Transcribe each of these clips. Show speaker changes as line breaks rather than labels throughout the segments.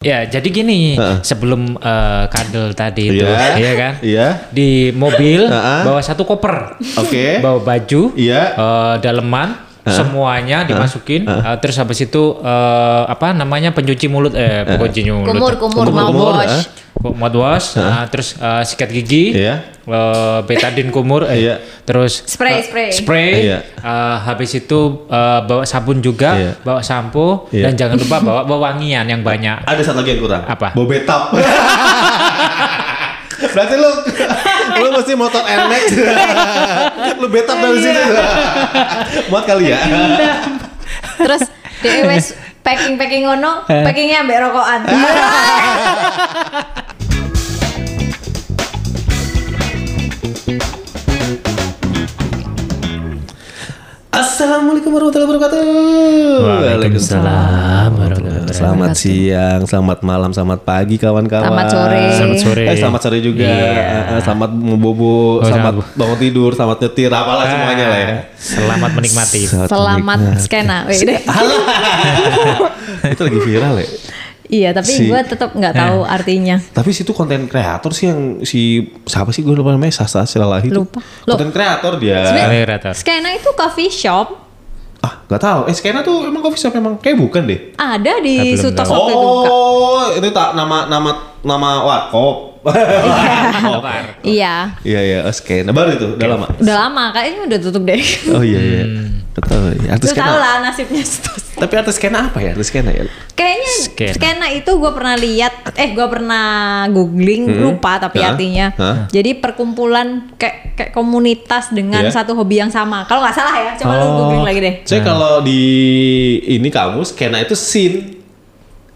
Ya, jadi gini,
Heeh.
sebelum eh, kadel tadi itu,
Iya.
ya kan?
Iya.
Di mobil
Heeh.
bawa satu koper,
Oke.
bawa baju,
Iya.
eh, daleman, semuanya dimasukin, eh, terus habis itu eh, apa namanya pencuci mulut, eh pencuci mulut,
Kumur, kumur,
kumur,
mouthwash.
Ku- mouthwash, nah, terus eh, sikat gigi,
Iya.
eh, betadine kumur, eh,
Iya.
terus
Spray,
eh,
spray.
spray,
Iya.
eh, habis itu eh, bawa sabun juga,
Iya.
bawa sampo, dan
Iya.
jangan lupa bawa wewangian yang banyak.
Ada satu lagi yang kurang.
Apa?
Bobetap. Berarti lu lu mesti motor NX. lu betap dari sini. Muat kali ya.
Terus dia wes packing-packing ngono, packingnya ambek rokokan.
Assalamualaikum warahmatullahi wabarakatuh.
Waalaikumsalam warahmatullahi wabarakatuh.
Selamat siang, selamat malam, selamat pagi kawan-kawan.
Selamat sore.
Selamat sore.
Eh, selamat sore juga. Eh, eh, Selamat ngebobo, selamat
selamat. Ah.
bangun tidur, selamat nyetir, apalah semuanya lah ya.
Selamat menikmati.
Selamat skena. Wih, deh.
Itu lagi viral ya.
Iya, tapi
Si-
gue tetap nggak tahu artinya.
Tapi situ konten kreator sih yang si siapa sih gue lupa namanya Sasa Silalahi itu.
Lupa. Loh.
Konten kreator dia.
Sebenarnya
Moderator.
skena itu coffee shop
Ah, nggak tahu. Eh, skena tuh emang coffee shop emang kayak bukan deh.
ada
Ah, belum
di Sutok
tahu.
waktu itu buka.
Oh, itu tak nama nama nama warkop.
Lokar.
Iya,
Iya iya, oh, skena baru itu, udah lama.
udah lama kayaknya udah tutup deh.
Oh iya iya. Nggak tahu. ya. Artis
Hmm. Lu
skena.
tau lah nasibnya Sutok.
Tapi artis skena apa ya? Artis skena ya.
Kayaknya
Skena.
skena, itu gue pernah lihat, eh gue pernah googling lupa tapi
Hmm. Hah?
artinya.
Hah?
Jadi perkumpulan kayak kayak komunitas dengan
Iya. Oh.
satu hobi yang sama. Kalau nggak salah ya, coba lu googling lagi deh.
Saya kalau di ini kamu skena itu scene.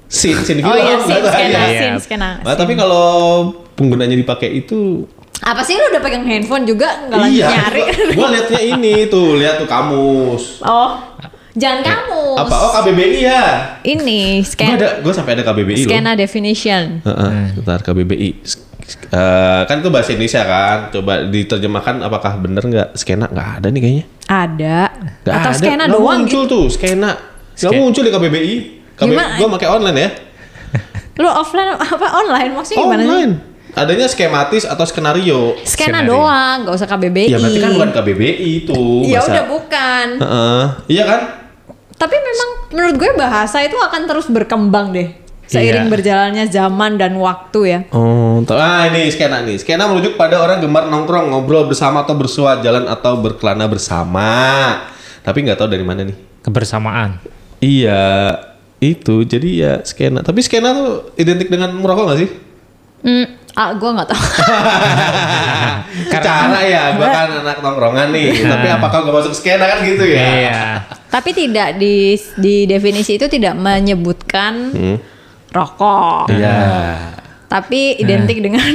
Scene, scene
Oh iya,
film.
sin,
Nggak tahu,
skena,
iya.
iya.
sin, skena.
Nah, tapi kalau penggunanya dipakai itu
Apa sih lu udah pegang handphone juga nggak lagi
iya,
nyari?
gua- Gua liatnya ini tuh, lihat tuh kamus.
oh, jangan kamu.
Apa? Oh KBBI ya.
Ini
Gua
skena,
ada, gua sampai ada KBBI loh.
skena definition.
Heeh, bentar KBBI. Sk- sk- eh, kan itu bahasa Indonesia kan. Coba diterjemahkan apakah bener nggak skena nggak ada nih kayaknya.
Ada.
Nggak
Atau
ada.
skena
Nggak
doang
muncul
gitu.
tuh skena. Nggak
Ske-
muncul di KBBI. KBBI
Gimana?
gua pakai online ya.
Lu offline apa online maksudnya gimana? sih?
Oh, Online. Adanya skematis atau skenario.
Skena
Skenario.
doang, nggak usah KBBI.
Ya berarti kan bukan KBBI itu.
Iya, Ya
bahasa-
udah bukan.
Heeh. Iya kan?
Tapi memang menurut gue bahasa itu akan terus berkembang deh
Iya.
seiring berjalannya zaman dan waktu ya.
Oh, ta- ah ini skena nih. Skena merujuk pada orang gemar nongkrong, ngobrol bersama atau bersua jalan atau berkelana bersama. Tapi nggak tahu dari mana nih.
Kebersamaan.
Iya, itu jadi ya skena. Tapi skena tuh identik dengan merokok nggak sih?
Hmm, ah gue nggak tahu.
Cara ya, gua kan anak nongkrongan nih. tapi apakah gua masuk skena kan gitu ya?
Iya.
Tapi tidak di di definisi itu tidak menyebutkan
Hmm.
rokok.
Iya. Eh.
Tapi identik dengan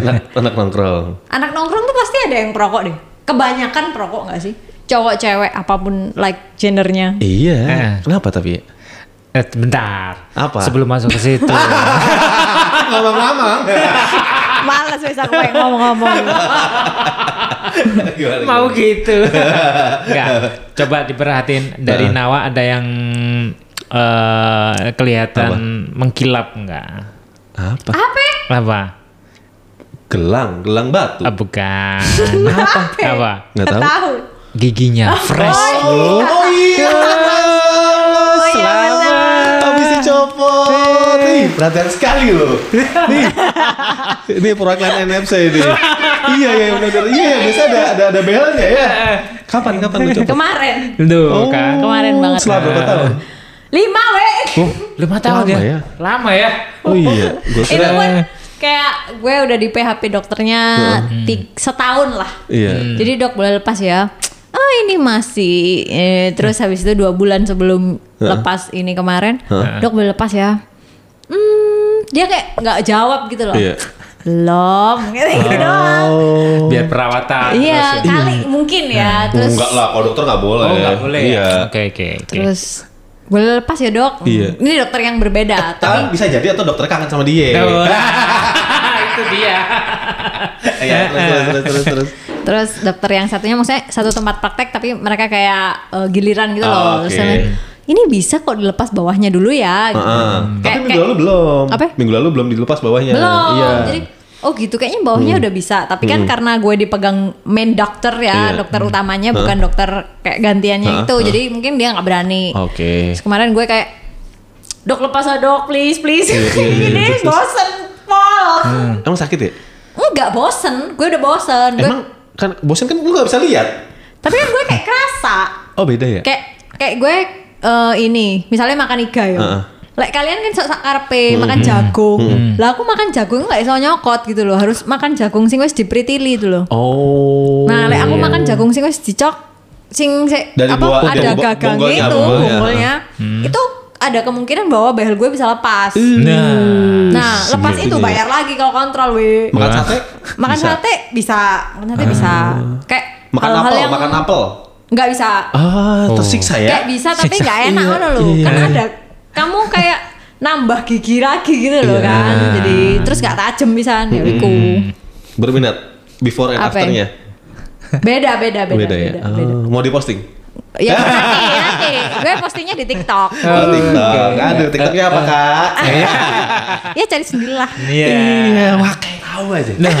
anak, anak nongkrong.
anak nongkrong tuh pasti ada yang perokok deh. Kebanyakan perokok nggak sih? Cowok, cewek, apapun like gendernya.
Iya.
Eh.
Kenapa tapi? ya?
Eh, bentar.
Apa?
Sebelum masuk ke situ.
Ngomong-ngomong.
Males wes aku kayak ngomong-ngomong.
Gimana,
Mau
gimana?
gitu. Enggak. Coba diperhatiin dari
Heeh.
Nawa ada yang eh, kelihatan mengkilap enggak?
Apa?
Apa?
Apa?
Gelang, gelang batu.
Ah, bukan. Apa? Apa?
Nggak tahu.
Giginya fresh.
Oh, oh iya.
iya,
Selamat. Habis dicopot. Ih, perhatian sekali loh. Nih. Ini perwakilan NFC ini. iya, iya benar. Iya, ya, biasa ada ada ada belnya ya. Kapan kapan lu copot?
Kemarin
Oh.
Duh, kan. Oh,
kemarin banget.
Setelah berapa tahun?
lima weh.
Lima tahun
Lama
ya?
ya.
Lama ya?
Oh iya, gua
itu
kira.
pun kayak gue udah di PHP dokternya ti- setahun lah
Iya.
jadi dok boleh lepas ya oh ini masih Eh, terus habis itu dua bulan sebelum lepas ini kemarin dok boleh lepas ya hmm dia kayak nggak jawab gitu loh
Iya.
belum gitu doang
Oh.
Biar perawatan. terus
iya
ya.
kali mungkin ya terus
Nah. Enggak lah, kalau dokter enggak boleh.
Oh, nggak boleh. ya?
Iya.
Oke, oke, oke.
terus boleh lepas ya dok
Iya.
ini dokter yang berbeda
Tapi Iya,
tapi
Kan bisa jadi atau dokter kangen sama dia.
Tuh. itu dia.
Iya, terus terus terus terus.
Terus dokter yang satunya maksudnya satu tempat praktek tapi mereka kayak eh, giliran gitu
Oh,
loh.
oke. Ah,
Terus sama, ini bisa kok dilepas bawahnya dulu ya. Gitu.
Heeh. Tapi
Kayak-
minggu
kayak-
lalu belum.
Apa?
Minggu lalu belum dilepas bawahnya.
Gitu. Belum.
Iya. Hmm.
Jadi oh gitu kayaknya bawahnya udah bisa. Tapi kan karena gue dipegang main dokter ya,
Iya.
dokter utamanya bukan dokter kayak gantiannya
Hah?
itu.
Hah?
Jadi mungkin dia nggak berani.
Oke.
Terus kemarin gue kayak dok lepas lah dok please please
Iya, iya, iya.
ini
Terus, terus.
bosen pol
Emang sakit ya?
enggak bosen gue udah bosen Gue-
Emang kan bosen kan lu gak bisa lihat.
tapi kan gue kayak kerasa
Oh beda ya?
kayak kayak gue eh, ini misalnya makan iga ya
Heeh. Hmm.
Lek kalian kan sak karepe makan jagung. Lah aku makan jagung nggak iso nyokot gitu loh. Harus makan jagung sing wis dipritili itu loh.
Oh.
nah, lek aku makan jagung sing wis dicok sing se-
Dari
apa
buah-
ada
bo-
gagang
bonggolnya,
gitu
bonggolnya.
bonggolnya. Itu ada kemungkinan bahwa behel gue bisa lepas.
Hmm.
Nah,
Nah,
Iya,
lepas itu
Gini.
bayar lagi kalau kontrol, we.
Makan
Wah.
sate?
Makan
Bisa. Ah.
sate bisa, makan sate bisa. Kayak
Makan
hal-hal
apel,
yang
makan apel.
nggak bisa.
Ah,
Oh.
tersiksa ya?
kayak bisa tapi
Siksa.
nggak enak
Iya,
kan loh
iya.
karena ada kamu kayak nambah gigi lagi gitu loh
Iya.
kan jadi terus nggak tajam bisa ya wiku.
Berminat before and
Apa
afternya.
ya? beda beda beda beda,
ya. Ah,
beda.
mau diposting?
ya nanti nanti gue postingnya di TikTok
Oh, TikTok. Ada TikToknya apa kak?
ya cari sendirilah
iya.
wah kayak tahu aja.
Nah,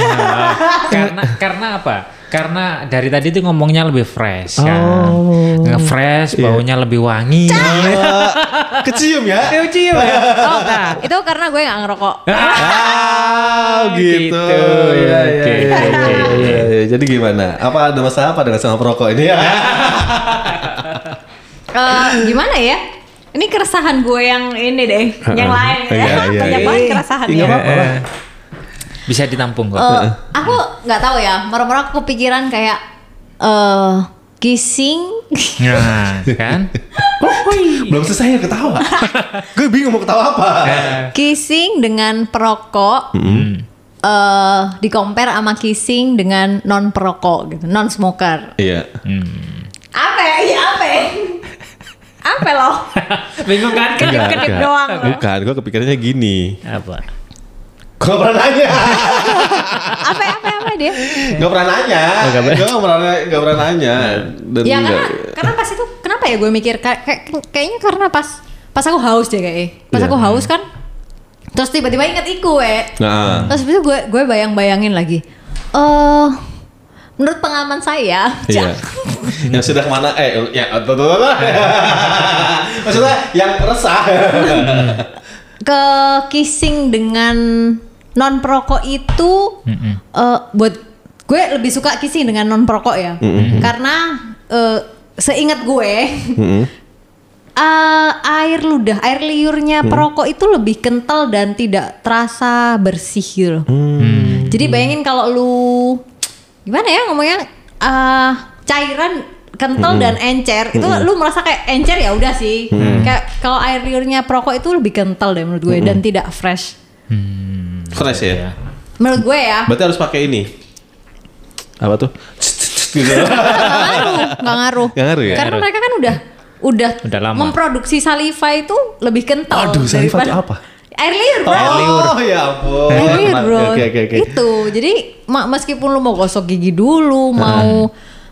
karena karena apa? Karena dari tadi tuh ngomongnya lebih fresh kan.
Oh.
Nge-fresh,
Iya.
baunya lebih wangi.
Eh, Kecium ya?
Cium-cium ya.
oh itu karena gue nggak ngerokok
Ah, gitu.
gitu.
Iya, iya,
Oke,
iya,
oke,
iya, iya, iya. Jadi gimana? Apa ada masalah apa dengan sama perokok ini? Ya.
Eh, gimana ya ini keresahan gue yang ini deh yang lain ya.
Iya, iya, iya.
banyak banget keresahannya
Iya, nggak apa-apa lah.
Bisa ditampung kok.
Oh.
Eh, aku nggak tahu ya, merem-merem aku kepikiran kayak eh kissing.
Nah, kan?
Belum selesai ya ketawa. Gue bingung mau ketawa apa.
kissing dengan perokok
Hmm.
eh di compare sama kissing dengan non perokok gitu, non smoker.
Iya.
Apa? ya? Iya apa? ya? apa loh?
Bingung kan?
Kedip kedip
enggak.
doang. loh.
Bukan, gue kepikirannya gini.
Apa?
Gue pernah nanya.
Apa apa apa dia?
Gak pernah nanya. Gue gak Oh, pernah, gak pernah nanya. Dan
ya karena
nggak-
karena pas itu kenapa ya gue mikir Ka- kayak- kayaknya karena pas pas aku haus deh kayaknya. Pas
Iya.
aku haus kan, terus tiba-tiba inget iku we.
Nah,
Terus habis itu gue gue bayang-bayangin lagi. Eh menurut pengalaman saya,
Iya. yang sudah kemana? Eh, ya, tuh, tuh, tuh, tuh. maksudnya yang resah.
ke kissing dengan non perokok itu eh, buat gue lebih suka kissing dengan non perokok ya. Karena eh, seingat gue
Mm-mm.
eh, air ludah, air liurnya perokok itu lebih kental dan tidak terasa bersih gitu loh.
Hmm.
Jadi bayangin kalau lu gimana ya ngomongnya eh cairan
Hmm.
kental dan encer itu lu merasa kayak encer ya udah sih.
Hmm.
Kayak kalau air liurnya perokok itu lebih kental deh menurut gue dan tidak fresh.
Fresh
Iya.
ya.
Menurut gue ya.
Berarti harus pakai ini. Apa tuh? Gitu.
nggak ngaruh, nggak ngaruh.
Nggak ngaruh ya?
Karena
Ngaruh.
mereka kan udah udah,
Udah lama.
memproduksi saliva itu lebih kental.
Aduh, saliva
daripada-
itu apa?
Air liur, bro.
Oh, ya ampun.
Eh, weird,
Ma-
bro.
Oke, oke, oke.
Itu. Jadi ma- meskipun lu mau gosok gigi
Ah.
dulu, mau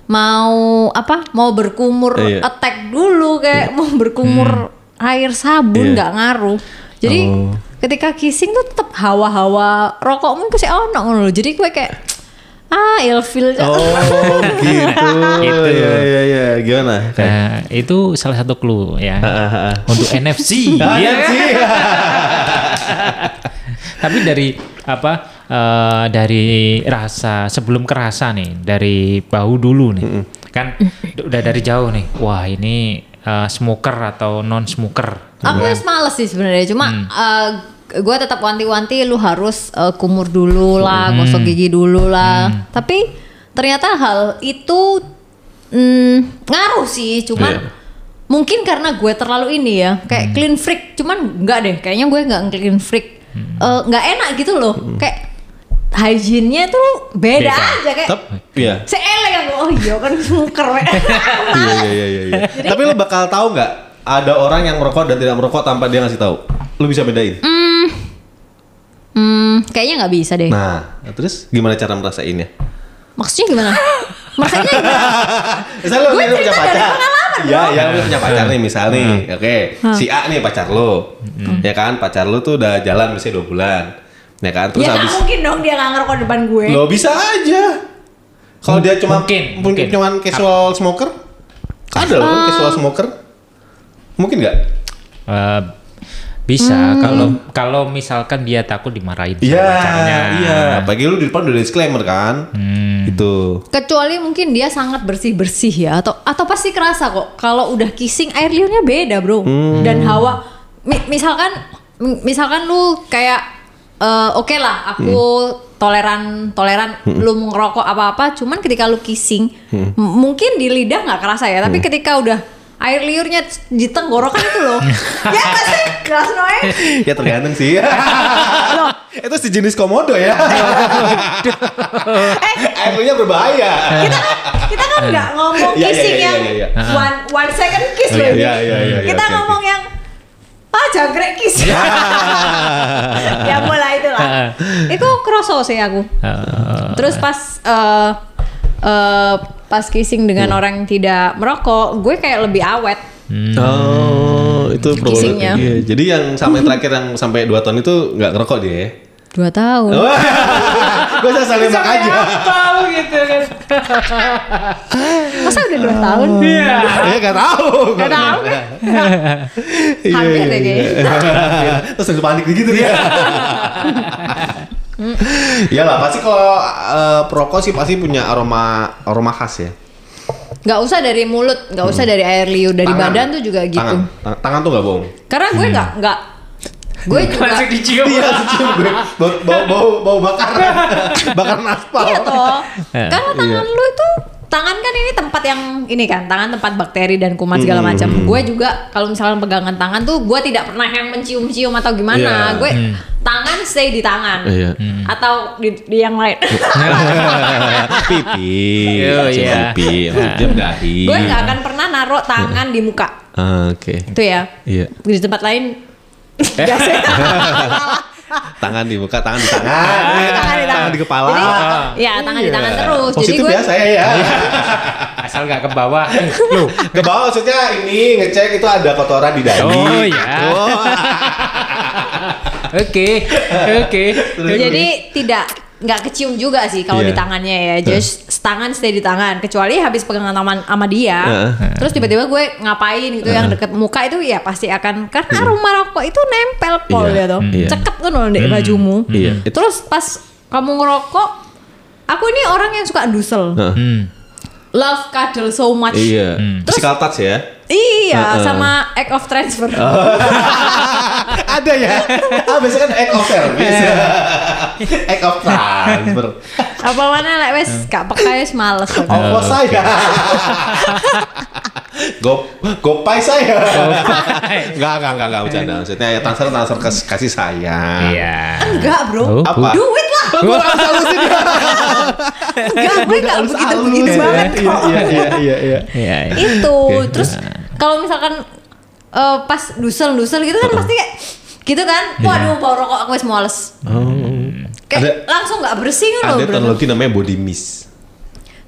mau apa? Mau berkumur
Iya.
attack dulu kayak mau berkumur air sabun
Iya.
nggak ngaruh. Jadi
Oh.
ketika kissing tuh tetap hawa-hawa rokokmu ku sih oh, ono ngono lho. Jadi gue kayak ah ilfil.
Oh, gitu.
Gitu.
Iya, iya, iya. Gimana? Kayak-
Nah, itu salah satu clue ya.
Ah, ah, ah.
Untuk NFC.
Ah,
Iya.
sih.
Tapi dari apa eh, dari rasa sebelum kerasa nih dari bau dulu nih kan d- udah dari jauh nih wah ini eh, smoker atau non smoker
Aku
ya.
wis males sih sebenarnya, cuma
Hmm.
eh, gue tetap wanti-wanti lu harus eh, kumur dulu lah,
Hmm.
gosok gigi dulu lah. Tapi ternyata hal itu mm, ngaruh sih, cuman
Iya. Hmm.
mungkin karena gue terlalu ini ya, kayak clean freak. Cuman enggak deh, kayaknya gue nggak clean freak.
Hmm.
Eh, Nggak enak gitu loh, kayak hygiene-nya tuh beda,
Beda.
aja kayak.
Tep, iya.
Saya elek aku, oh iya kan smoker. weh.
Iya, iya, iya, iya, iya. Tapi lo bakal tahu nggak ada orang yang merokok dan tidak merokok tanpa dia ngasih tahu? Lo bisa bedain.
Mm. hmm, kayaknya nggak bisa deh.
Nah, terus gimana cara merasainnya?
Maksudnya gimana? Maksudnya gimana?
Misalnya lo
gue
lo
cerita dari pengalaman pacaran
Ya,
dong.
ya lu punya pacar nih misalnya nih. Oke, si A nih pacar lo.
Mm.
Ya kan, pacar lo tuh udah jalan misalnya 2 bulan. Ya kan, terus
ya nggak
habis
mungkin dong dia nggak ngerokok depan gue
lo bisa aja. Kalau dia cuma
Mungkin, mungkin. Ah.
cuman casual smoker? Ada loh
Ah.
casual smoker. Mungkin nggak?
Eh, bisa kalau kalau misalkan dia takut dimarahin sama
Hmm. Iya,
pacarnya.
iya. Bagi lu di depan udah disclaimer kan?
Hmm.
Itu.
kecuali mungkin dia sangat bersih bersih ya atau atau pasti kerasa kok kalau udah kissing air liurnya beda bro
Hmm.
dan hawa Mi- misalkan mi- misalkan lu kayak eh, oke lah aku
Hmm.
toleran toleran lu mau ngerokok apa apa cuman ketika lu kissing
Hmm.
m- mungkin di lidah nggak kerasa ya tapi ketika udah air liurnya di tenggorokan itu loh ya nggak sih keras noe
Ya tergantung sih. Itu sejenis komodo ya. Air liurnya berbahaya.
Eh. kita kan kita kan nggak ngomong
Iya, iya,
kissing
iya,
yang
iya, iya.
one one second kiss
Iya,
baby.
iya, iya, iya,
kita
oke, Ya.
ngomong yang ah jangkrik kiss ya mulai itu lah itu kroso sih aku
Eh,
terus pas eh, eh, pas kissing dengan orang yang tidak merokok gue kayak lebih awet
Hmm.
Oh, itu problem.
Kissingnya.
Iya, jadi yang sampai terakhir yang sampai 2 tahun itu nggak ngerokok dia ya?
dua tahun
Wah, Gue sasa nembak aja.
tahu gitu kan.
masa udah dua tahun
Iya.
Ya nggak tahu.
Gak tahu kan?
Iya,
Hampir
iya,
deh
iya. Terus udah panik gitu dia. Iya lah, pasti kalau eh, perokok sih pasti punya aroma aroma khas ya.
Gak usah dari mulut, gak usah dari air liur, dari
Hmm. Tangan.
badan tuh juga gitu.
Tangan, Hmm. Tang- tangan tuh nggak bohong.
Karena gue nggak nggak gue juga
Langsung dicium.
Iya, cium gue. bau bau bau, bau bakaran, bakaran aspal.
Iya toh.
Eh,
Karena tangan
Iya.
lu itu tangan kan ini tempat yang ini kan, tangan tempat bakteri dan kuman segala
Hmm.
macam. Gue juga kalau misalkan pegangan tangan tuh gue tidak pernah yang mencium-cium atau gimana.
Iya.
Gue tangan stay di tangan.
Iya.
Atau di, di yang lain.
pipi,
Iya,
cium
iya.
pipi, jam dahi.
gue nggak akan pernah naruh tangan di muka.
Ah, Oke.
Itu ya.
Iya.
Di tempat lain Gak sih.
Tangan dibuka, tangan di tangan,
Ah, tangan di tangan.
di kepala.
Jadi, ya, tangan di tangan terus.
Ah. Positif
gue-
ya saya ya.
Asal nggak ke bawah. Loh.
Ke bawah maksudnya ini ngecek itu ada kotoran di dahi.
Oh, iya.
Oh,
Oke. Oke.
Jadi tidak nggak kecium juga sih kalau
Iya.
di tangannya ya. Just tangan stay di tangan. Kecuali habis pegangan tangan sama dia,
Heeh.
terus tiba-tiba gue ngapain gitu yang deket muka itu ya pasti akan karena rumah rokok itu nempel pol
Hmm. Iya,
ya toh.
iya.
Ceket tuh nol di bajumu.
Iya.
Terus pas kamu ngerokok, aku ini orang yang suka dusel.
Heeh.
Love cuddle so much.
Nah, Iya.
Hmm.
Terus-
Physical touch ya.
Iya,
Heeh.
sama act of transfer.
Oh. ada ya. Ah, biasanya kan act of service.
Iya.
act of transfer.
Apa mana lek wes gak peka wes males.
Ah,
Apa saya? Gop, gopai saya.
Oh.
Enggak, enggak, enggak, enggak bercanda. Maksudnya ya transfer transfer kas- kasih sayang.
Iya.
Kan Enggak, Bro.
Oh,
Apa?
Duit lah.
Gua harus halusin.
Enggak, gue gak
Harus
begitu
halus.
begitu banget
Iya,
kok.
Iya, iya, iya, iya.
Iya. iya.
Itu, terus kalau misalkan eh, pas dusel dusel gitu kan pasti kayak gitu
Iya.
kan, waduh bau rokok aku wis males. Kayak langsung nggak bersih kan loh,
Oh. Ada
bro.
teknologi namanya body mist.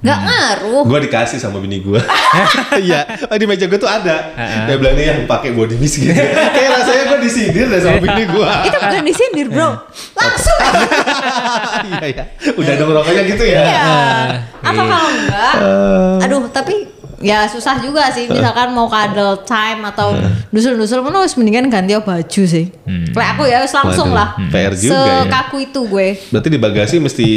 Nggak ngaruh.
Gue dikasih sama bini gue. Oh. Iya, oh, di meja gue tuh ada. Dia bilang nih yang pakai body mist gitu. Kayak rasanya gue disindir deh sama bini gue.
Itu bukan disindir bro, langsung.
Iya, iya. Udah dong rokoknya gitu ya.
Iya. Apa
Iya.
kalau enggak?
Eh.
Aduh, tapi ya susah juga sih misalkan mau cuddle time atau
Eh.
dusul-dusul mana harus mendingan ganti baju sih. Kayak aku ya harus langsung
Hmm. Waduh,
lah.
hmm. PR juga ya.
Sekaku itu gue.
Berarti di bagasi mesti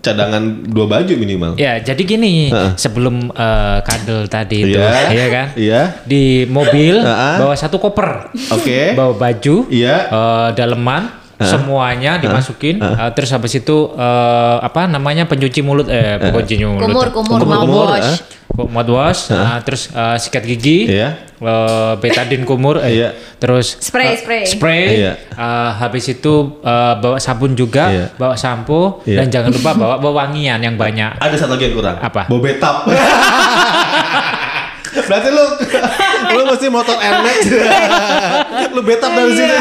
cadangan dua baju minimal.
Ya, jadi gini,
Heeh.
sebelum eh, kadel tadi itu,
Iya.
iya kan?
Iya.
Di mobil
Heeh.
bawa satu koper.
Oke.
Bawa baju,
Iya.
eh, daleman, semuanya dimasukin, eh, terus habis itu eh, apa namanya pencuci mulut eh pencuci mulut.
Kumur, kumur,
Kumur, kumur,
mouthwash.
ah.
mouthwash, nah, terus eh, sikat gigi,
Iya.
eh, betadine kumur, eh,
Iya.
terus eh,
Spray, spray.
spray,
Iya.
eh, habis itu eh, bawa sabun juga,
Iya.
bawa sampo,
Iya.
dan jangan lupa bawa wewangian yang banyak.
Ada satu lagi yang kurang.
Apa?
Bobetap. Berarti lu lu mesti motor Air Max. lu betap
Iya,
dari sini.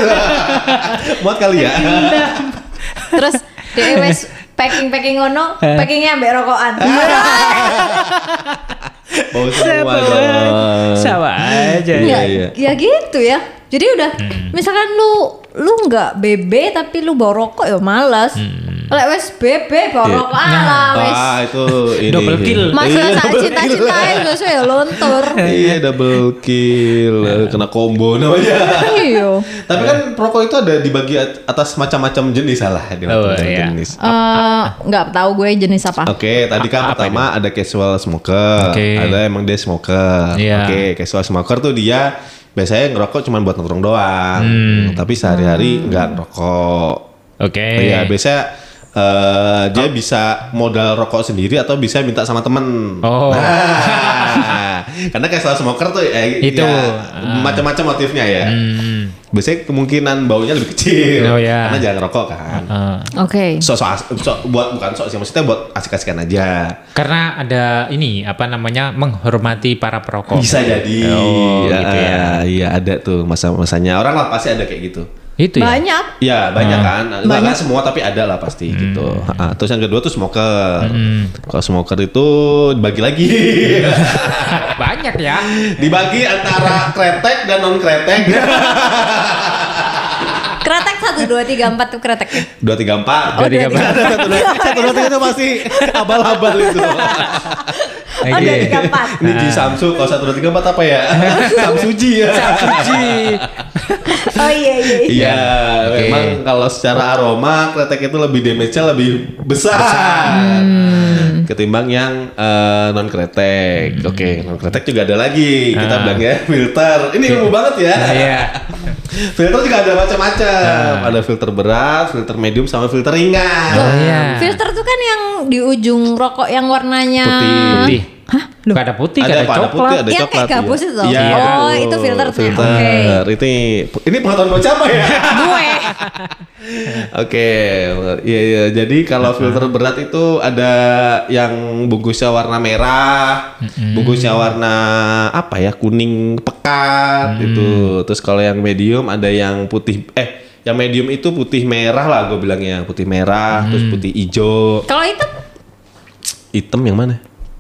Muat kali ya.
Terus dia
Eh.
Iya. wes packing packing ono, packingnya ambek rokokan.
Oh semua
Sama-
dong.
sama aja.
Iya,
Ya,
iya. Hmm.
ya gitu ya. Jadi udah misalkan lu lu nggak BB tapi lu bawa rokok ya males. Lek wes BB
Hmm.
bawa
Iya.
rokok alah wes.
Ah itu ini.
Double kill.
Masa
Iya,
sak
double kill.
cinta-cinta wes ya luntur.
Iya double kill kena combo namanya.
Iya.
Tapi kan rokok itu ada dibagi at- atas macam-macam jenis salah di
Oh,
macam-macam
iya.
jenis.
Eh, nggak tahu gue jenis apa.
Oke, tadi kan pertama ada casual smoker,
Oke.
ada emang dia smoker.
Iya.
Oke, casual smoker tuh dia biasanya ngerokok cuma buat nongkrong doang,
Hmm.
tapi sehari-hari nggak ngerokok.
Oke.
Iya, biasanya eh, dia bisa modal rokok sendiri atau bisa minta sama temen.
Oh.
Nah, karena casual smoker tuh eh,
Itu.
ya,
Ah. Hmm,
macam-macam motifnya ya. Biasanya kemungkinan baunya lebih kecil
Oh, iya.
karena jangan ngerokok kan
Eh,
Oke.
sok sok sok- buat bukan sok sih maksudnya buat asik-asikan aja
karena ada ini apa namanya menghormati para perokok.
bisa jadi
Oh,
ya,
gitu ya.
iya ada tuh masa-masanya orang lah pasti ada kayak gitu
Itu ya.
Banyak.
ya banyak kan Nggak- nggak semua tapi ada lah pasti
Hmm.
gitu Ah, terus yang kedua tuh smoker kalau smoker itu dibagi lagi
Banyak ya.
dibagi antara kretek dan non kretek
Kretek satu dua tiga empat tuh kretek.
dua tiga empat
Oh, dua, tiga, empat.
Ada satu dua satu dua tiga itu pasti abal-abal itu
Oh dua tiga empat.
ini
Nah.
di Samsung kalau satu dua tiga empat apa ya Samsuji ya
Suci.
Oh iya iya. iya.
Iya,
Oke.
memang kalau secara aroma kretek itu lebih damage-nya lebih besar,
Hmm.
ketimbang yang non kretek. Oke, non kretek juga ada lagi. Kita
Ah.
bilang ya filter. Ini ilmu banget ya.
Iya. Ah.
filter juga ada macam-macam. Ada filter berat, filter medium, sama filter
Oh,
ringan.
iya.
Filter tuh kan yang di ujung rokok yang warnanya
Putih.
Hah? Loh.
Gak ada putih, gak ada
ada apa? Ada
coklat.
putih, ada
Yang kayak
coklat. iya.
gabus itu?
Iya,
Oh,
betul.
itu filternya.
Filter. Ini ini pengetahuan buat siapa ya?
gue.
Oke, iya iya. Jadi kalau filter berat itu ada yang bungkusnya warna merah, bungkusnya warna apa ya kuning pekat itu. Terus kalau yang medium ada yang putih eh yang medium itu putih merah lah gue bilangnya putih merah terus putih hijau
Kalau itu
hitam yang mana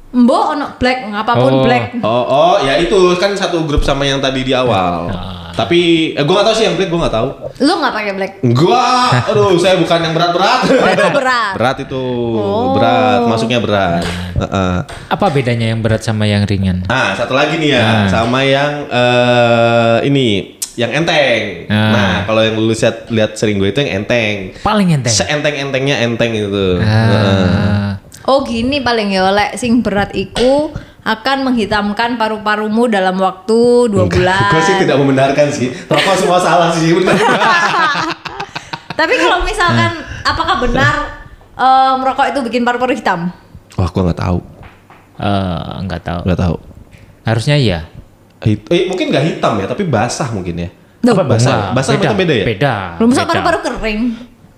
Mbok ono black, ngapapun
Oh.
black.
oh oh ya itu kan satu grup sama yang tadi di awal tapi eh, gue nggak tahu sih yang black gue nggak tahu
Lu nggak pakai black?
Gua, aduh, saya bukan yang berat-berat.
itu berat.
berat itu,
Oh.
berat, masuknya berat. Heeh.
Apa bedanya yang berat sama yang ringan?
Nah, satu lagi nih ya, sama yang eh, ini, yang enteng.
Ah.
Nah, kalau yang lu lihat lihat sering gue itu yang enteng.
Paling enteng.
Seenteng-entengnya enteng itu. Eh.
Ah.
Oh gini paling ya oleh sing berat iku akan menghitamkan paru-parumu dalam waktu dua bulan.
Gue sih tidak membenarkan sih. Rokok semua salah sih. bener.
Tapi kalau misalkan
Hmm.
apakah benar eh, merokok itu bikin paru-paru hitam?
Wah, gua nggak tahu,
Eh, nggak tahu.
nggak tahu.
Harusnya iya.
Hit- eh, mungkin nggak hitam ya, tapi basah mungkin ya.
Loh.
Apa basah?
Enggak,
Basah itu beda ya?
Beda.
Belum masa
beda.
paru-paru kering.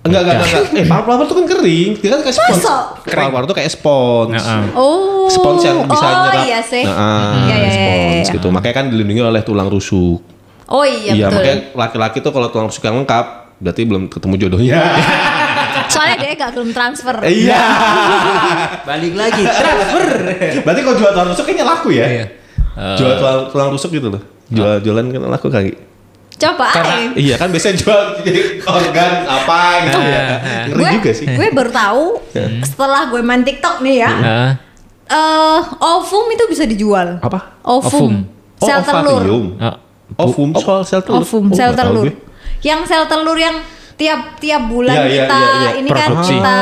Enggak, enggak, enggak. enggak. Eh, paru-paru tuh kan kering. Dia kan kayak spons.
Masa?
Paru-paru tuh kayak spons.
Heeh.
Oh.
Spons yang bisa
oh,
nyerap.
iya sih.
Heeh,
Iya, iya, iya,
spons
iya.
gitu. Makanya kan dilindungi oleh tulang rusuk.
Oh iya,
iya,
betul.
makanya laki-laki tuh kalau tulang rusuk yang lengkap, berarti belum ketemu jodohnya.
Soalnya dia gak belum transfer.
Iya.
Balik lagi. Transfer.
berarti kalau jual tulang rusuk kayaknya laku ya.
Iya. Eh.
Jual tulang, tulang rusuk gitu loh. Jual jualan kan laku kali.
Coba eh. aja.
Karena-
Iya kan biasanya jual organ apa gitu ya. Ngeri
gue,
juga sih. Iya.
Gue baru tahu setelah gue main TikTok nih ya. Eh, ovum itu bisa dijual.
Apa?
Ovum. Eh.
Ovum.
Oh,
Sel telur.
ovarium. Ovum, Oh, soal sel telur.
Ovum,
Oh,
sel
nggak tahu
telur.
gue.
Yang sel telur yang tiap tiap bulan
Iya, iya,
kita
iya, iya.
ini kan
Produksi.
kita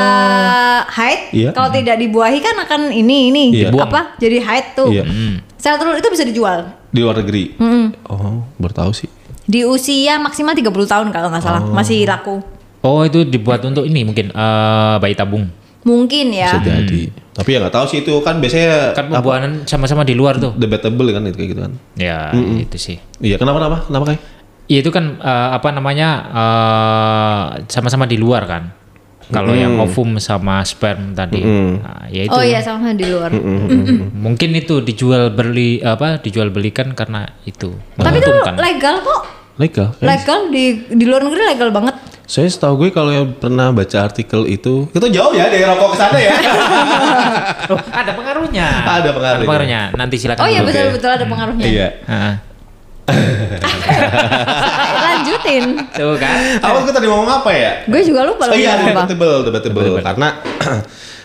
haid.
Iya.
Kalau tidak dibuahi kan akan ini ini
Iya.
Dibuang.
apa? Jadi haid tuh.
Iya.
Sel telur itu bisa dijual
Di luar negeri. Oh, baru tahu sih.
di usia maksimal 30 tahun kalau nggak salah. Masih laku.
Oh itu dibuat untuk ini mungkin eh, bayi tabung.
Mungkin
Bisa
ya.
jadi. Tapi ya nggak tahu sih itu kan biasanya
Kan pembuahan sama-sama di luar tuh.
debatable kan itu kayak gitu kan.
Ya itu sih.
Iya, kenapa kenapa? Kenapa kayak?
Ya, itu kan eh, apa namanya eh, sama-sama di luar kan. Kalau yang ovum sama sperm tadi, Nah, ya itu
Oh iya sama di luar.
mungkin itu dijual beli apa dijual belikan karena itu
Tapi itu
menguntungkan.
legal kok.
Legal.
Legal di di luar negeri legal banget.
Saya setahu gue kalau yang pernah baca artikel itu, itu jauh ya dari rokok ke sana ya.
Oh, ada pengaruhnya.
Ada pengaruhnya.
Nanti silakan.
Oh iya
dulu.
Oke.
betul betul ada pengaruhnya.
iya.
Heeh.
Lanjutin.
Tuh kan.
Awal kita tadi ngomong apa ya?
Gue juga lupa
Oh
lagi
iya,
ngomong apa.
debatable, debatable. Karena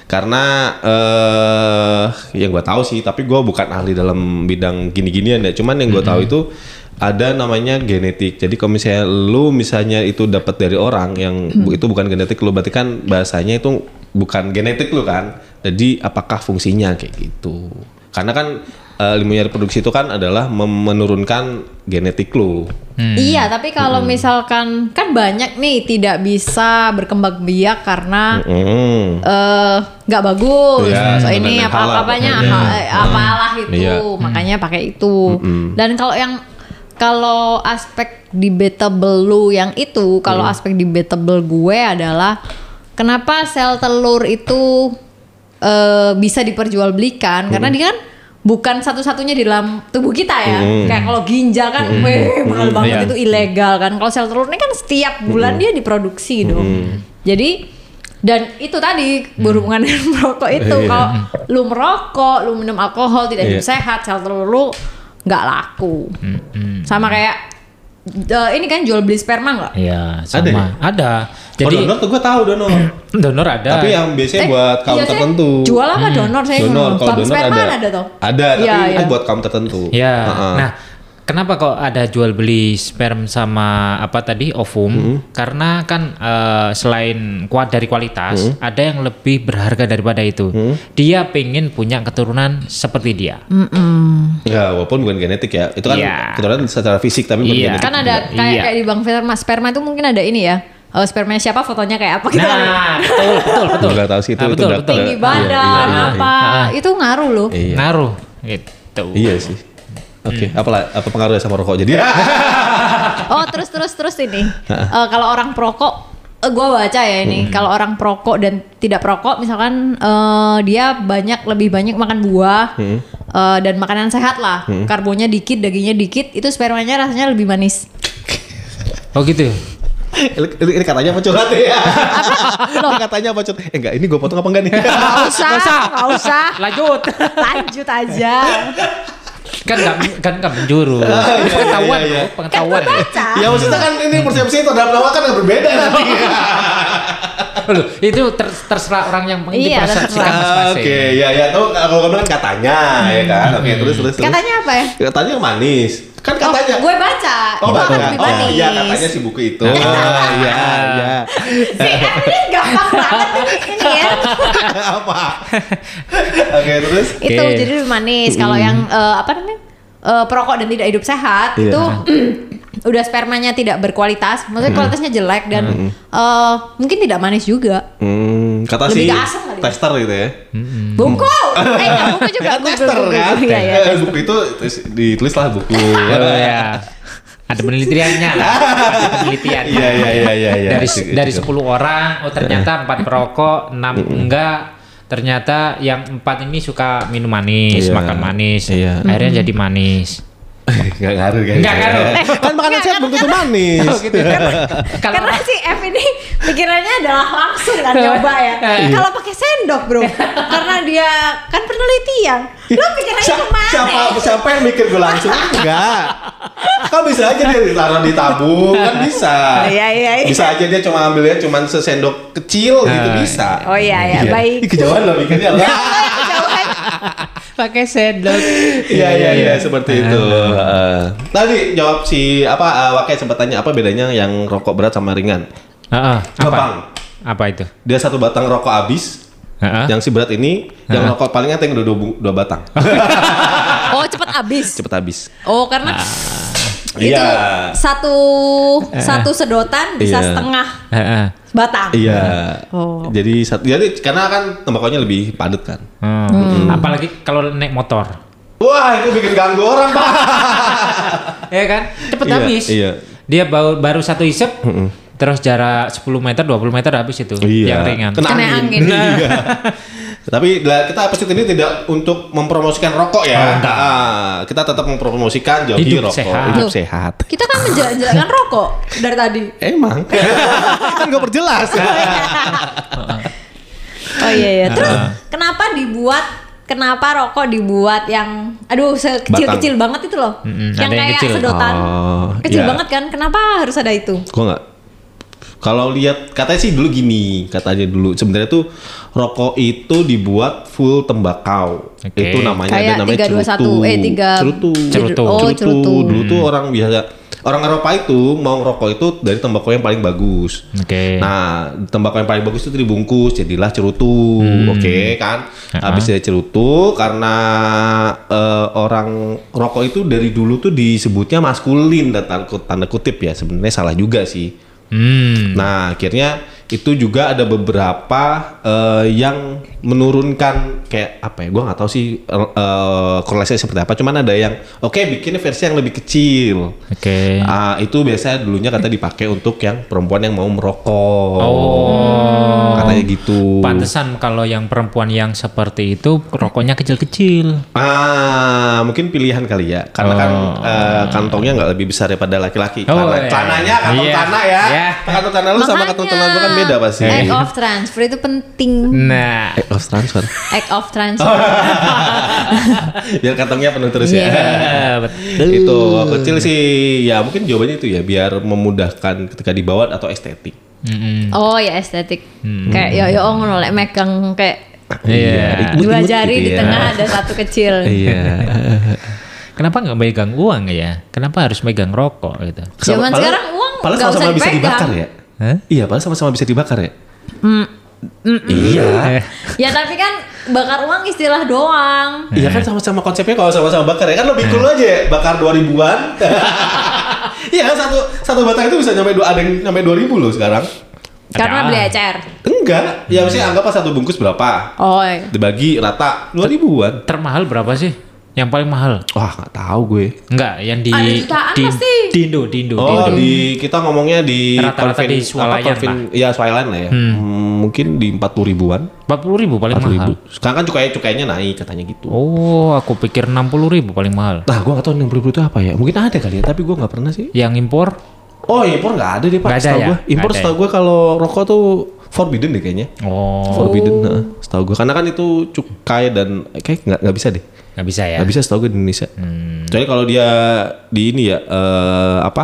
karena eh yang gue tahu sih, tapi gue bukan ahli dalam bidang gini-ginian ya. Cuman yang gue tahu itu ada namanya genetik. Jadi kalau misalnya lu misalnya itu dapat dari orang yang bu- itu bukan genetik lu, berarti kan bahasanya itu bukan genetik lu kan. Jadi apakah fungsinya kayak gitu? Karena kan eh, ilmu nyari reproduksi itu kan adalah mem- menurunkan genetik lu.
Iya, tapi kalau misalkan kan banyak nih tidak bisa berkembang biak karena
Mm.
eh nggak bagus
Iya,
so,
sama
ini
dengan
apa
halal
apanya
makanya.
ha- eh, apalah itu
Iya.
makanya pakai itu dan kalau yang kalau aspek debatable lu yang itu kalau aspek debatable gue adalah kenapa sel telur itu eh, bisa diperjualbelikan karena dia kan bukan satu-satunya di dalam tubuh kita ya kayak kalau ginjal kan weh mahal
Hmm,
banget
iya.
itu ilegal kan kalau sel telur ini kan setiap bulan dia diproduksi dong jadi dan itu tadi berhubungan dengan merokok itu
Mm. Iya.
kalau lu merokok lu minum alkohol tidak hidup
Iya.
sehat sel telur lu nggak laku sama kayak eh, ini kan jual beli sperma nggak
Iya,
Ada ya?
sama. Ada.
Jadi,
Jadi
donor Oh, tuh gue tahu donor.
donor ada.
Tapi yang biasanya
Eh,
buat kaum
iya, saya
tertentu.
Jual apa donor saya?
Donor,
ngomong.
kalau
Bank
donor
sperma
ada.
ada toh?
Ada, tapi
Iya,
itu
iya.
buat kaum tertentu.
Ya.
Heeh.
Nah, kenapa kok ada jual beli sperm sama apa tadi ovum?
Mm-hmm.
Karena kan eh, selain kuat dari kualitas,
Mm-hmm.
ada yang lebih berharga daripada itu. Dia pengen punya keturunan seperti dia.
Mm.
ya walaupun bukan genetik ya. Itu kan
Iya.
keturunan secara fisik tapi bukan
Iya.
genetik.
Kan ada
Iya.
kayak kayak di bank sperma sperma itu mungkin ada ini ya. Eh, spermanya siapa fotonya kayak apa gitu.
Nah, betul, betul, betul.
Nggak tahu sih, itu-
Nah,
itu
betul,
nggak-
betul.
Tinggi
Iya,
badan
iya, iya.
apa? Itu ngaruh loh.
Iya.
Ngaruh gitu.
Iya sih. Oke,
Hmm.
apalah apa pengaruhnya sama rokok. Jadi
Oh terus terus terus ini Eh, kalau orang perokok eh, gua baca ya ini kalau orang perokok dan tidak perokok misalkan eh, dia banyak lebih banyak makan buah eh, dan makanan sehat lah karbonya dikit dagingnya dikit itu spermanya rasanya lebih manis
Oh gitu. ya?
ini, ini katanya apa curhat ya? Ini katanya apa curhat? Eh enggak, ini gue potong apa enggak nih?
nggak
Ah,
usah
Nggak usah.
nggak usah
Lanjut.
lanjut aja
kan nggak kan nggak menjuru.
iya,
pengetahuan,
iya, iya.
Bro, pengetahuan.
baca
ya maksudnya kan ini persepsi itu dalam lawakan yang berbeda
Iya.
nanti.
Loh, itu ter- terserah orang yang
Iya,
menginterpretasikan
terserah.
Mas
Ah,
Pase.
Oke, ya ya tahu kalau kamu kan katanya ya kan. Oke,
Hmm.
terus terus terus.
katanya apa ya
Katanya yang manis. Kan
Oh,
katanya.
gue baca
Oh,
itu akan
baca.
lebih
oh
manis
iya katanya si buku itu.
Ah.
Ah, iya, iya.
si Emily gampang banget ini, ini ya
Apa? Oke, terus
itu
Oke.
jadi lebih manis kalau yang eh, apa namanya eh, perokok dan tidak hidup sehat
Iya.
itu udah spermanya tidak berkualitas maksudnya kualitasnya jelek dan eh, mungkin tidak manis juga
Hmm, kata
Lebih
si
ke asam kali ya?
tester gitu ya.
bungku eh nggak bungku juga
Kan
Google,
tester
Google.
kan.
Iya, iya.
Eh, buku itu terus ditulislah buku.
Oh,
iya.
ya. Ada penelitiannya lah. Ada penelitian.
Iya, iya, iya, iya, iya.
dari
Gitu, Iya.
dari
gitu.
10 orang, oh ternyata empat perokok, enam enggak. Ternyata yang empat ini suka minum manis,
Iya.
makan manis.
Iya.
Akhirnya jadi manis.
Enggak ngaruh kan.
Nggak ngaruh.
Eh,
Kan makanan sehat belum tentu manis.
Oh, gitu. Kalau
karena si F ini pikirannya adalah langsung kan nyoba ya
Iya.
kalau pakai sendok bro karena dia kan penelitian lo pikirannya ya?
Siapa,
itu manis
siapa siapa yang mikir gue langsung? Enggak. Kan bisa aja dia ditaruh di tabung, kan bisa.
Iya, iya, iya.
Bisa aja dia cuma ambilnya cuma sesendok kecil gitu bisa.
oh iya ya baik Iya, eh.
Ih, kejauhan loh mikirnya. lah.
Kejauhan.
pakai sendok.
Iya iya iya seperti itu.
Ah,
Heeh. Tadi jawab si apa eh, Wakai sempat tanya apa bedanya yang rokok berat sama ringan.
Heeh, apa?
Gampang.
Apa itu?
Dia satu batang rokok habis.
Heeh.
Yang si berat ini yang rokok paling enteng udah dua, bu- dua batang.
oh cepet abis
Cepet Nah. habis.
Oh karena itu
Iya. Eh.
satu satu sedotan bisa
Iya.
setengah
Heeh.
batang.
Iya.
Oh.
Jadi satu jadi karena kan tembakonya lebih padat kan.
Hmm. Apalagi kalau naik motor.
Wah, itu bikin ganggu orang, Pak.
ya kan? Cepet
Iya,
habis.
iya.
Dia baru, baru satu isep, terus jarak 10 meter, 20 meter habis itu yang ringan.
Kena angin.
Iya. Tapi lah, kita episode ini tidak untuk mempromosikan rokok ya. Ah, kita tetap mempromosikan
Oh,
jauhi
Hidup
rokok,
sehat.
hidup
Loh,
sehat.
Kita kan menjalankan rokok dari tadi.
Emang kan gue perjelas.
Oh iya iya.
Nah.
Terus kenapa dibuat kenapa rokok dibuat yang aduh sekecil-kecil banget itu loh.
Mm-mm,
yang
ada yang
kayak
kecil.
sedotan.
Oh,
kecil
iya.
banget kan? Kenapa harus ada itu?
gue nggak kalau lihat katanya sih dulu gini katanya dulu sebenarnya tuh rokok itu dibuat full tembakau
Oke.
itu namanya
Kayak
ada namanya
321,
cerutu
eh, tiga-
cerutu
Cerutu.
cerutu,
Oh,
cerutu.
dulu tuh orang biasa orang Eropa itu mau rokok itu dari tembakau yang paling bagus
Oke.
Nah, tembakau yang paling bagus itu dibungkus, jadilah cerutu,
Hmm.
oke kan? Habis dari cerutu, karena eh, orang rokok itu dari dulu tuh disebutnya maskulin, dan tanda kut- tanda kutip ya, sebenarnya salah juga sih.
Hmm.
Nah, akhirnya itu juga ada beberapa eh, yang menurunkan kayak apa ya? Gua nggak tahu sih eh, eh, korelasinya seperti apa. Cuman ada yang oke bikinnya versi yang lebih kecil.
Oke.
Ah, itu biasanya dulunya kata dipakai untuk yang perempuan yang mau merokok.
Oh.
Katanya gitu.
Pantesan kalau yang perempuan yang seperti itu rokoknya kecil-kecil.
Ah, mungkin pilihan kali ya. Karena kan
Oh.
eh, kantongnya nggak lebih besar daripada
Oh,
laki-laki. Celana-
iya.
Celananya kantong
Iya.
tanah ya.
Iya.
Kantong tanah lu sama kantong tanah gua kan beda pasti.
Act of transfer itu penting.
Nah,
Eh, oh, transfer.
Act of transfer.
Biar kantongnya penuh terus
Iya.
ya.
eh, betul.
itu kecil sih ya mungkin jawabannya itu ya biar memudahkan ketika dibawa atau estetik Mm.
Mm-mm.
oh ya estetik. Kayak yo yo ngono lek megang kayak
Iya.
Imut-imut
dua
gitu
jari di
ya.
tengah ada satu kecil.
iya
Kenapa nggak megang uang ya? Kenapa harus megang rokok gitu?
Zaman
Padahal-
sekarang uang
padahal
nggak usah
sama-sama bisa
dipegang.
dibakar ya
Hah?
iya padahal sama-sama bisa dibakar ya iya
Hmm.
Eh,
Ya tapi kan bakar uang istilah doang.
Iya kan sama-sama konsepnya kalau sama-sama bakar ya kan lebih cool aja ya, bakar 2000-an. Iya kan satu satu batang itu bisa nyampe dua ada yang nyampe 2000 loh sekarang.
Karena
Ada.
beli ecer.
Enggak, ya maksudnya anggap satu bungkus berapa?
Oh. iya.
Dibagi rata 2000-an.
Termahal berapa sih? Yang paling mahal?
Wah, nggak tahu gue.
Enggak, yang di
Ada jutaan
di,
pasti.
di Indo, di Indo. di
Oh
Indo.
di kita ngomongnya di
Rata-rata di swalayan
apa, konvin, ya swalayan lah ya. Hmm, mungkin di 40 ribuan.
40 ribu paling
40 ribu.
mahal.
Sekarang kan cukai cukainya naik katanya gitu.
Oh, aku pikir 60 ribu paling mahal.
Nah, gua nggak tahu 60 ribu itu apa ya. Mungkin ada kali ya, tapi gua nggak pernah sih.
Yang impor?
Oh, impor nggak ada deh Pak.
Nggak ada
setahu
ya?
gua. Impor
Nggak ada
setahu gua kalau rokok tuh forbidden deh kayaknya.
Oh,
Forbidden, heeh, setahu gua. Karena kan itu cukai dan eh, kayak nggak nggak bisa deh.
nggak bisa ya. Hmm.
Nggak bisa setahu gua di Indonesia. Kecuali kalau dia di ini ya eh, apa?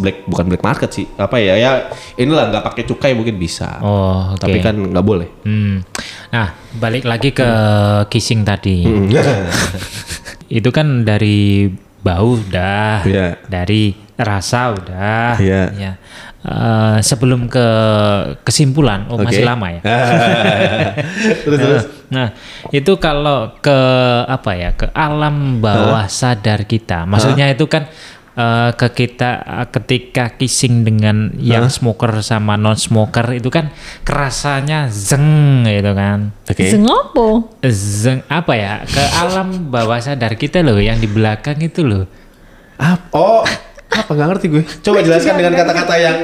Black bukan black market sih. Apa ya? Ya inilah nggak pakai cukai mungkin bisa.
Oh, oke.
Tapi kan nggak boleh.
Hmm. Nah, balik lagi ke kissing tadi.
Hmm. Ya,
Itu kan dari bau udah,
Iya.
dari rasa udah.
Iya.
Ya. Eh, sebelum ke kesimpulan, oh masih
Oke. Ah.
lama ya.
terus terus.
Nah, itu kalau ke apa ya, ke alam bawah sadar kita. Maksudnya itu kan eh, ke kita eh, ketika kissing dengan yang smoker sama non smoker itu kan kerasanya zeng gitu kan.
Oke.
Sengopo.
Zeng apa ya? Ke alam bawah sadar kita loh yang di belakang itu loh.
Ap- oh, apa nggak ngerti gue? Coba jelaskan dengan kata-kata yang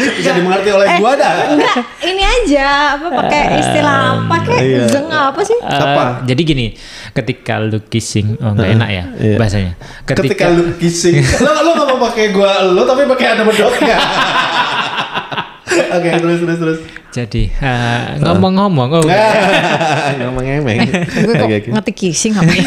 bisa dimengerti oleh gua dah.
Eh, Enggak, ini aja apa pakai
Ah,
istilah apa kek?
iya.
Zeng apa sih?
Eh,
Apa?
jadi gini, ketika lu kissing, oh nggak enak ya
iya.
bahasanya.
Ketika, lu kissing, lo lo nggak mau pakai gua lo tapi pakai ada bedoknya. Oke terus terus terus.
Jadi eh, ngomong-ngomong, oh,
Eh, Ngomong emeng.
Gue kok
Oke oke.
ngerti kissing apa ya?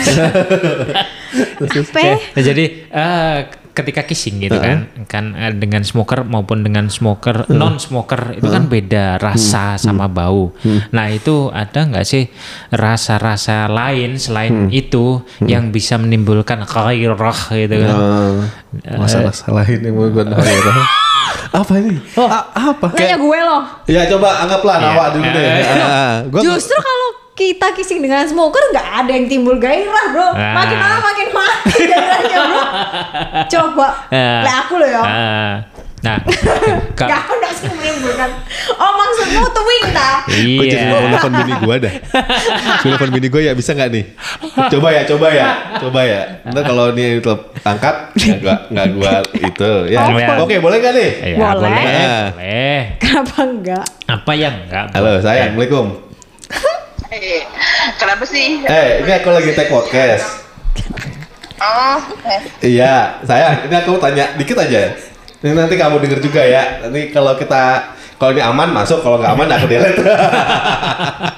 Apa?
Ya, jadi eh, ketika kissing gitu kan, kan eh, dengan smoker maupun dengan smoker non smoker itu kan beda rasa
Hmm.
sama bau. Nah itu ada nggak sih rasa-rasa lain
Hmm.
selain itu yang bisa menimbulkan khairah gitu kan?
Masalah salahin yang Oh, mau ya, gue nanya. Apa ini?
Oh.
A- apa?
Nanya gue loh.
Ya coba anggaplah awak dulu deh.
Eh.
Ah, gua-
Iya. Justru kalau kita kissing dengan smoker nggak ada yang timbul gairah bro.
Ah.
Makin lama makin mati gairahnya bro. Coba,
Ah.
lah aku loh ya.
Ah, Nah, ka-
Gak ada sih menimbulkan. Oh maksudmu tuwing ta?
Gue jadi mau
iya.
nelfon bini gue dah. Gue nelfon bini gue ya bisa nggak nih? Coba ya, coba ya, coba ya. Ntar kalau dia telep- angkat nggak gua nggak gue itu. Ya,
Apa?
oke boleh nggak nih?
Ya,
Boleh.
boleh.
Nah.
Boleh.
Kenapa enggak?
Apa yang enggak?
Halo, sayang, assalamualaikum.
Eh, kenapa sih?
Eh, ini aku lagi take podcast.
Oh, eh,
Iya, sayang. Ini aku tanya dikit aja. Ini nanti kamu denger juga ya. Nanti kalau kita kalau ini aman masuk, kalau nggak aman aku delete.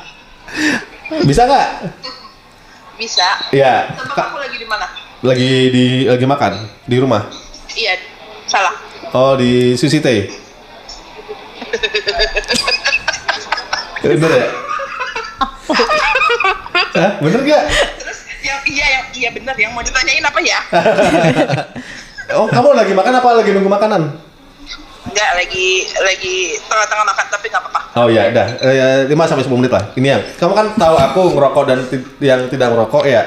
bisa nggak?
bisa.
Iya.
Tempat
Kak,
aku lagi di mana?
Lagi di lagi makan di rumah.
Iya, salah.
Oh di Sushi Tei. bener ya? Hah, bener gak?
Terus yang iya yang iya benar yang mau ditanyain apa ya?
Eh.
Oh kamu lagi makan apa lagi nunggu makanan?
Enggak lagi lagi tengah-tengah makan tapi nggak apa-apa.
Oh ya, udah eh, 5 sampai 10 menit lah. Ini yang kamu kan tahu aku ngerokok dan ti- yang tidak merokok ya.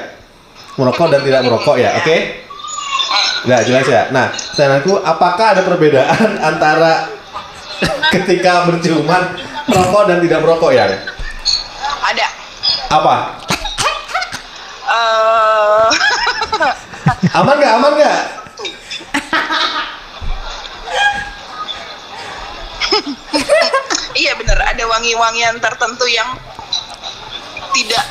Merokok dan tidak merokok ya, oke? Nah, jelas ya. Nah, pertanyaan aku, apakah ada perbedaan antara ketika berciuman merokok dan tidak merokok ya?
Ada.
Apa?
Eh,
Aman nggak? Aman nggak?
iya benar, ada wangi-wangian tertentu yang tidak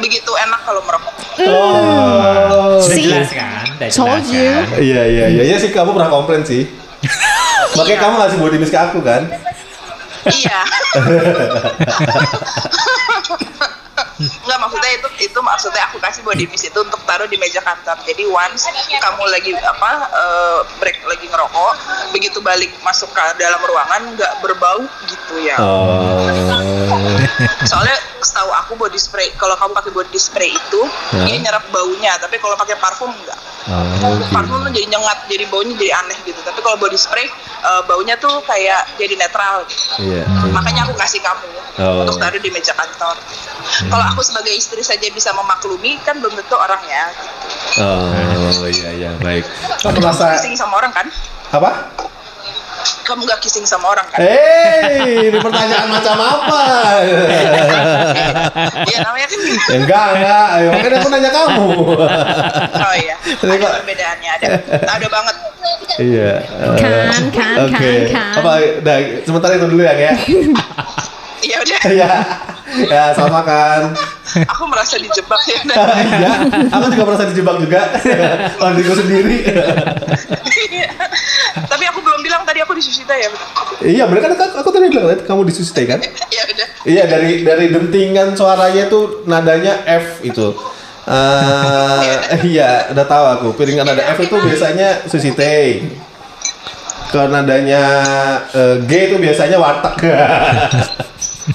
begitu enak kalau merokok.
Oh.
Sudah
See?
jelas kan? Sudah jelas
Told you.
kan?
Iya iya iya iya sih kamu pernah komplain sih. Makanya kamu ngasih body mist ke aku kan?
iya. Enggak maksudnya itu itu maksudnya aku kasih body mist itu untuk taruh di meja kantor. Jadi once kamu lagi apa eh, break lagi ngerokok, begitu balik masuk ke dalam ruangan nggak berbau gitu ya.
Oh.
Soalnya setahu aku body spray kalau kamu pakai body spray itu
Hah?
dia nyerap baunya, tapi kalau pakai parfum enggak.
Oh,
Parfum tuh jadi nyengat, jadi baunya jadi aneh gitu. Tapi kalau body spray eh, baunya tuh kayak jadi netral gitu
Iya.
makanya aku kasih kamu
Oh. Hmm.
untuk taruh di meja kantor. Kalau aku sebagai istri saja bisa memaklumi, kan belum tentu orang ya.
Oh iya iya baik. Kamu merasa
Kissing sama orang kan?
apa?
Kamu nggak kissing sama orang kan?
Hei, ini pertanyaan macam apa?
Iya namanya kan.
Ya, enggak enggak, ayo makanya aku nanya kamu.
Oh iya,
Tapi
ada
kok-
perbedaannya ada, ada banget.
iya. eh,
Kan, kan,
Oke.
kan, kan.
Apa? Dah, sementara itu dulu ya ya.
Iya udah,
Iya. Ya, sama kan.
aku merasa dijebak ya.
ya, aku juga merasa dijebak juga oleh diriku sendiri.
Tapi aku belum bilang tadi aku disusita ya.
iya, bener kan aku, aku tadi bilang "Lihat, kamu disusite kan?
Iya udah.
Iya, dari dari dentingan suaranya tuh nadanya F itu. Eh, iya, udah tahu aku. Piringan nada F itu biasanya susite. Kalau nadanya eh, G itu biasanya warteg.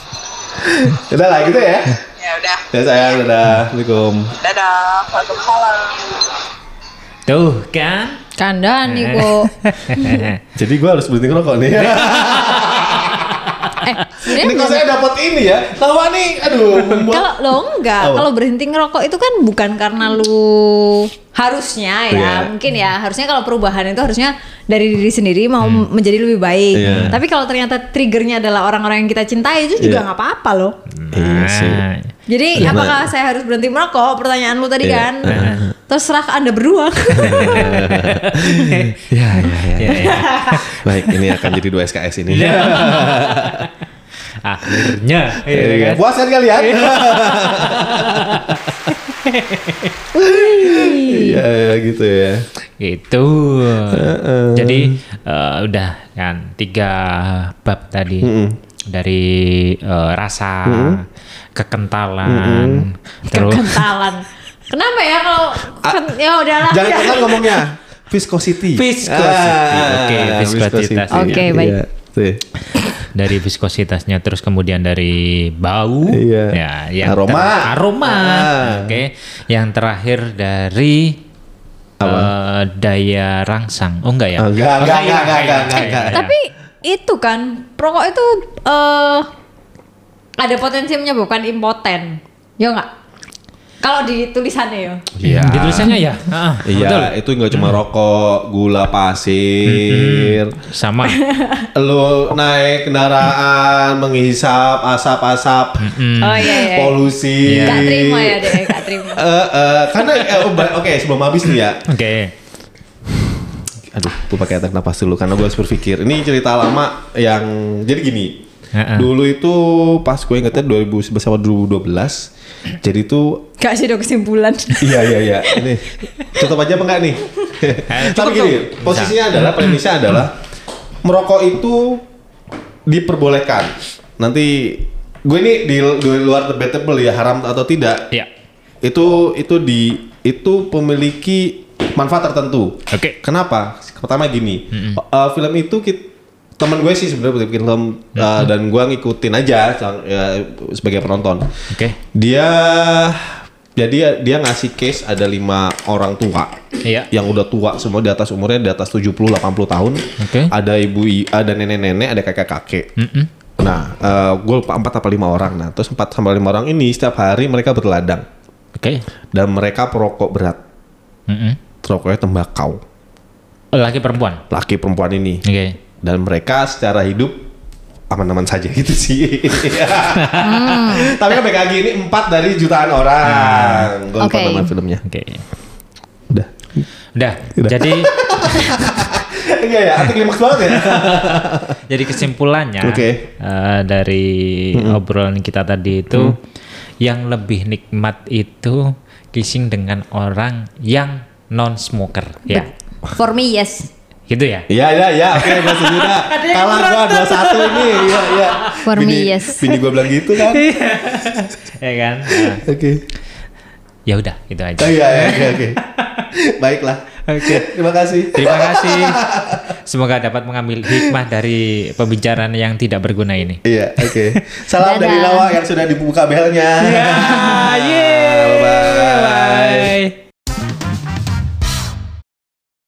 udah lah gitu ya.
Ya udah.
Ya sayang, dadah. Assalamualaikum.
Dadah. Waalaikumsalam.
Tuh kan?
Kandaan
Eh.
nih kok.
Jadi gua harus berhenti ngerokok nih.
Eh,
ini
sebenarnya
kok saya dapat ini ya. Tawa nih, aduh. membuat-
Kalau lo enggak,
Apa?
kalau berhenti ngerokok itu kan bukan karena lu harusnya ya,
Iya.
mungkin ya. Harusnya kalau perubahan itu harusnya dari diri sendiri mau menjadi lebih baik.
Hmm. Iya.
Tapi kalau ternyata triggernya adalah orang-orang yang kita cintai itu juga
Iya.
nggak apa-apa loh.
Iya sih.
Nah,
Jadi
Iya,
apakah saya harus berhenti merokok? Pertanyaan lu tadi
Iya.
kan. Terserah ke Anda berdua.
Ya, ya, ya.
ya, ya.
Baik, ini akan jadi dua SKS ini.
Ya. Akhirnya. ya kan?
Iya, Puas kan kalian? Iya, iya, gitu ya.
Gitu. Jadi eh, udah kan tiga bab tadi dari eh, rasa, kekentalan, terus
Kentalan. Kenapa ya kalau ken- ya udahlah.
Jangan telat ngomongnya. Viscosity. Ah,
Viscosity, oke, viscositas.
Oke, baik.
Iya, tuh.
dari viskositasnya terus kemudian dari bau
Iya.
ya yang
Aroma.
ter- aroma
Ah.
oke yang terakhir dari eh, daya rangsang oh enggak ya
Ah, enggak,
Oh, iya,
enggak, enggak,
iya,
enggak,
iya,
enggak,
iya,
Tapi itu kan rokok itu eh ada potensi menyebabkan impoten. Ya enggak? Kalau di tulisannya ya.
Iya.
Ditulisannya ya. Ah, betul.
Iya, itu nggak cuma rokok, gula pasir.
Sama.
Lu naik kendaraan menghisap asap-asap
Oh iya iya.
polusi.
Gak terima ya deh, gak terima.
Eh, eh, karena eh, oh, ba- oke sebelum habis nih ya.
Oke.
Aduh, gue pakai tarik napas dulu karena gue harus berpikir. Ini cerita lama yang jadi gini.
Heeh.
Dulu itu pas gue ingetnya 2011 sama 2012. Jadi itu
Gak sih dong kesimpulan.
iya iya iya ini tutup aja apa enggak nih
Eh,
tapi gini posisinya adalah premisnya
Hmm.
adalah merokok itu diperbolehkan nanti gue ini di, di luar debatable ya haram atau tidak
Iya.
itu itu di itu memiliki manfaat tertentu
Oke.
kenapa pertama gini eh, film itu kit- temen gue sih sebenarnya bikin film eh, dan gue ngikutin aja sang- ya, sebagai penonton
Oke.
dia jadi dia ngasih case ada lima orang tua
Iya.
yang udah tua semua di atas umurnya di atas 70 80 tahun.
Oke.
Ada ibu i- ada nenek-nenek, ada kakek-kakek. Nah, gue lupa 4 apa 5 orang. Nah, terus 4 sampai 5 orang ini setiap hari mereka berladang
Oke.
dan mereka perokok berat.
Mm-mm.
Rokoknya tembakau.
Laki perempuan.
Laki perempuan ini.
Oke.
Dan mereka secara hidup aman-aman saja gitu sih.
Hmm.
Tapi kan baik lagi ini 4 dari jutaan orang. Gue lupa
Nah. Oke.
nama filmnya.
Oke.
Udah.
Udah. Jadi
Iya ya, anti klimaks banget ya.
jadi kesimpulannya
Oke.
eh, dari obrolan kita tadi itu yang lebih nikmat itu kissing dengan orang yang non smoker ya.
For me yes.
Gitu ya.
Iya iya iya, oke gue setuju dah. Kalah gua 21 nih. Iya iya.
For me,
Bini,
yes.
Bini gua bilang gitu kan.
Iya. ya kan? Nah,
Oke.
ya udah, gitu aja.
Oh iya iya, oke oke. Baiklah.
Oke.
Terima kasih.
Terima kasih. Semoga dapat mengambil hikmah dari pembicaraan yang tidak berguna ini.
Iya, oke. Salam dari
Dadah.
Lawa yang sudah dibuka belnya.
Ah, yeah.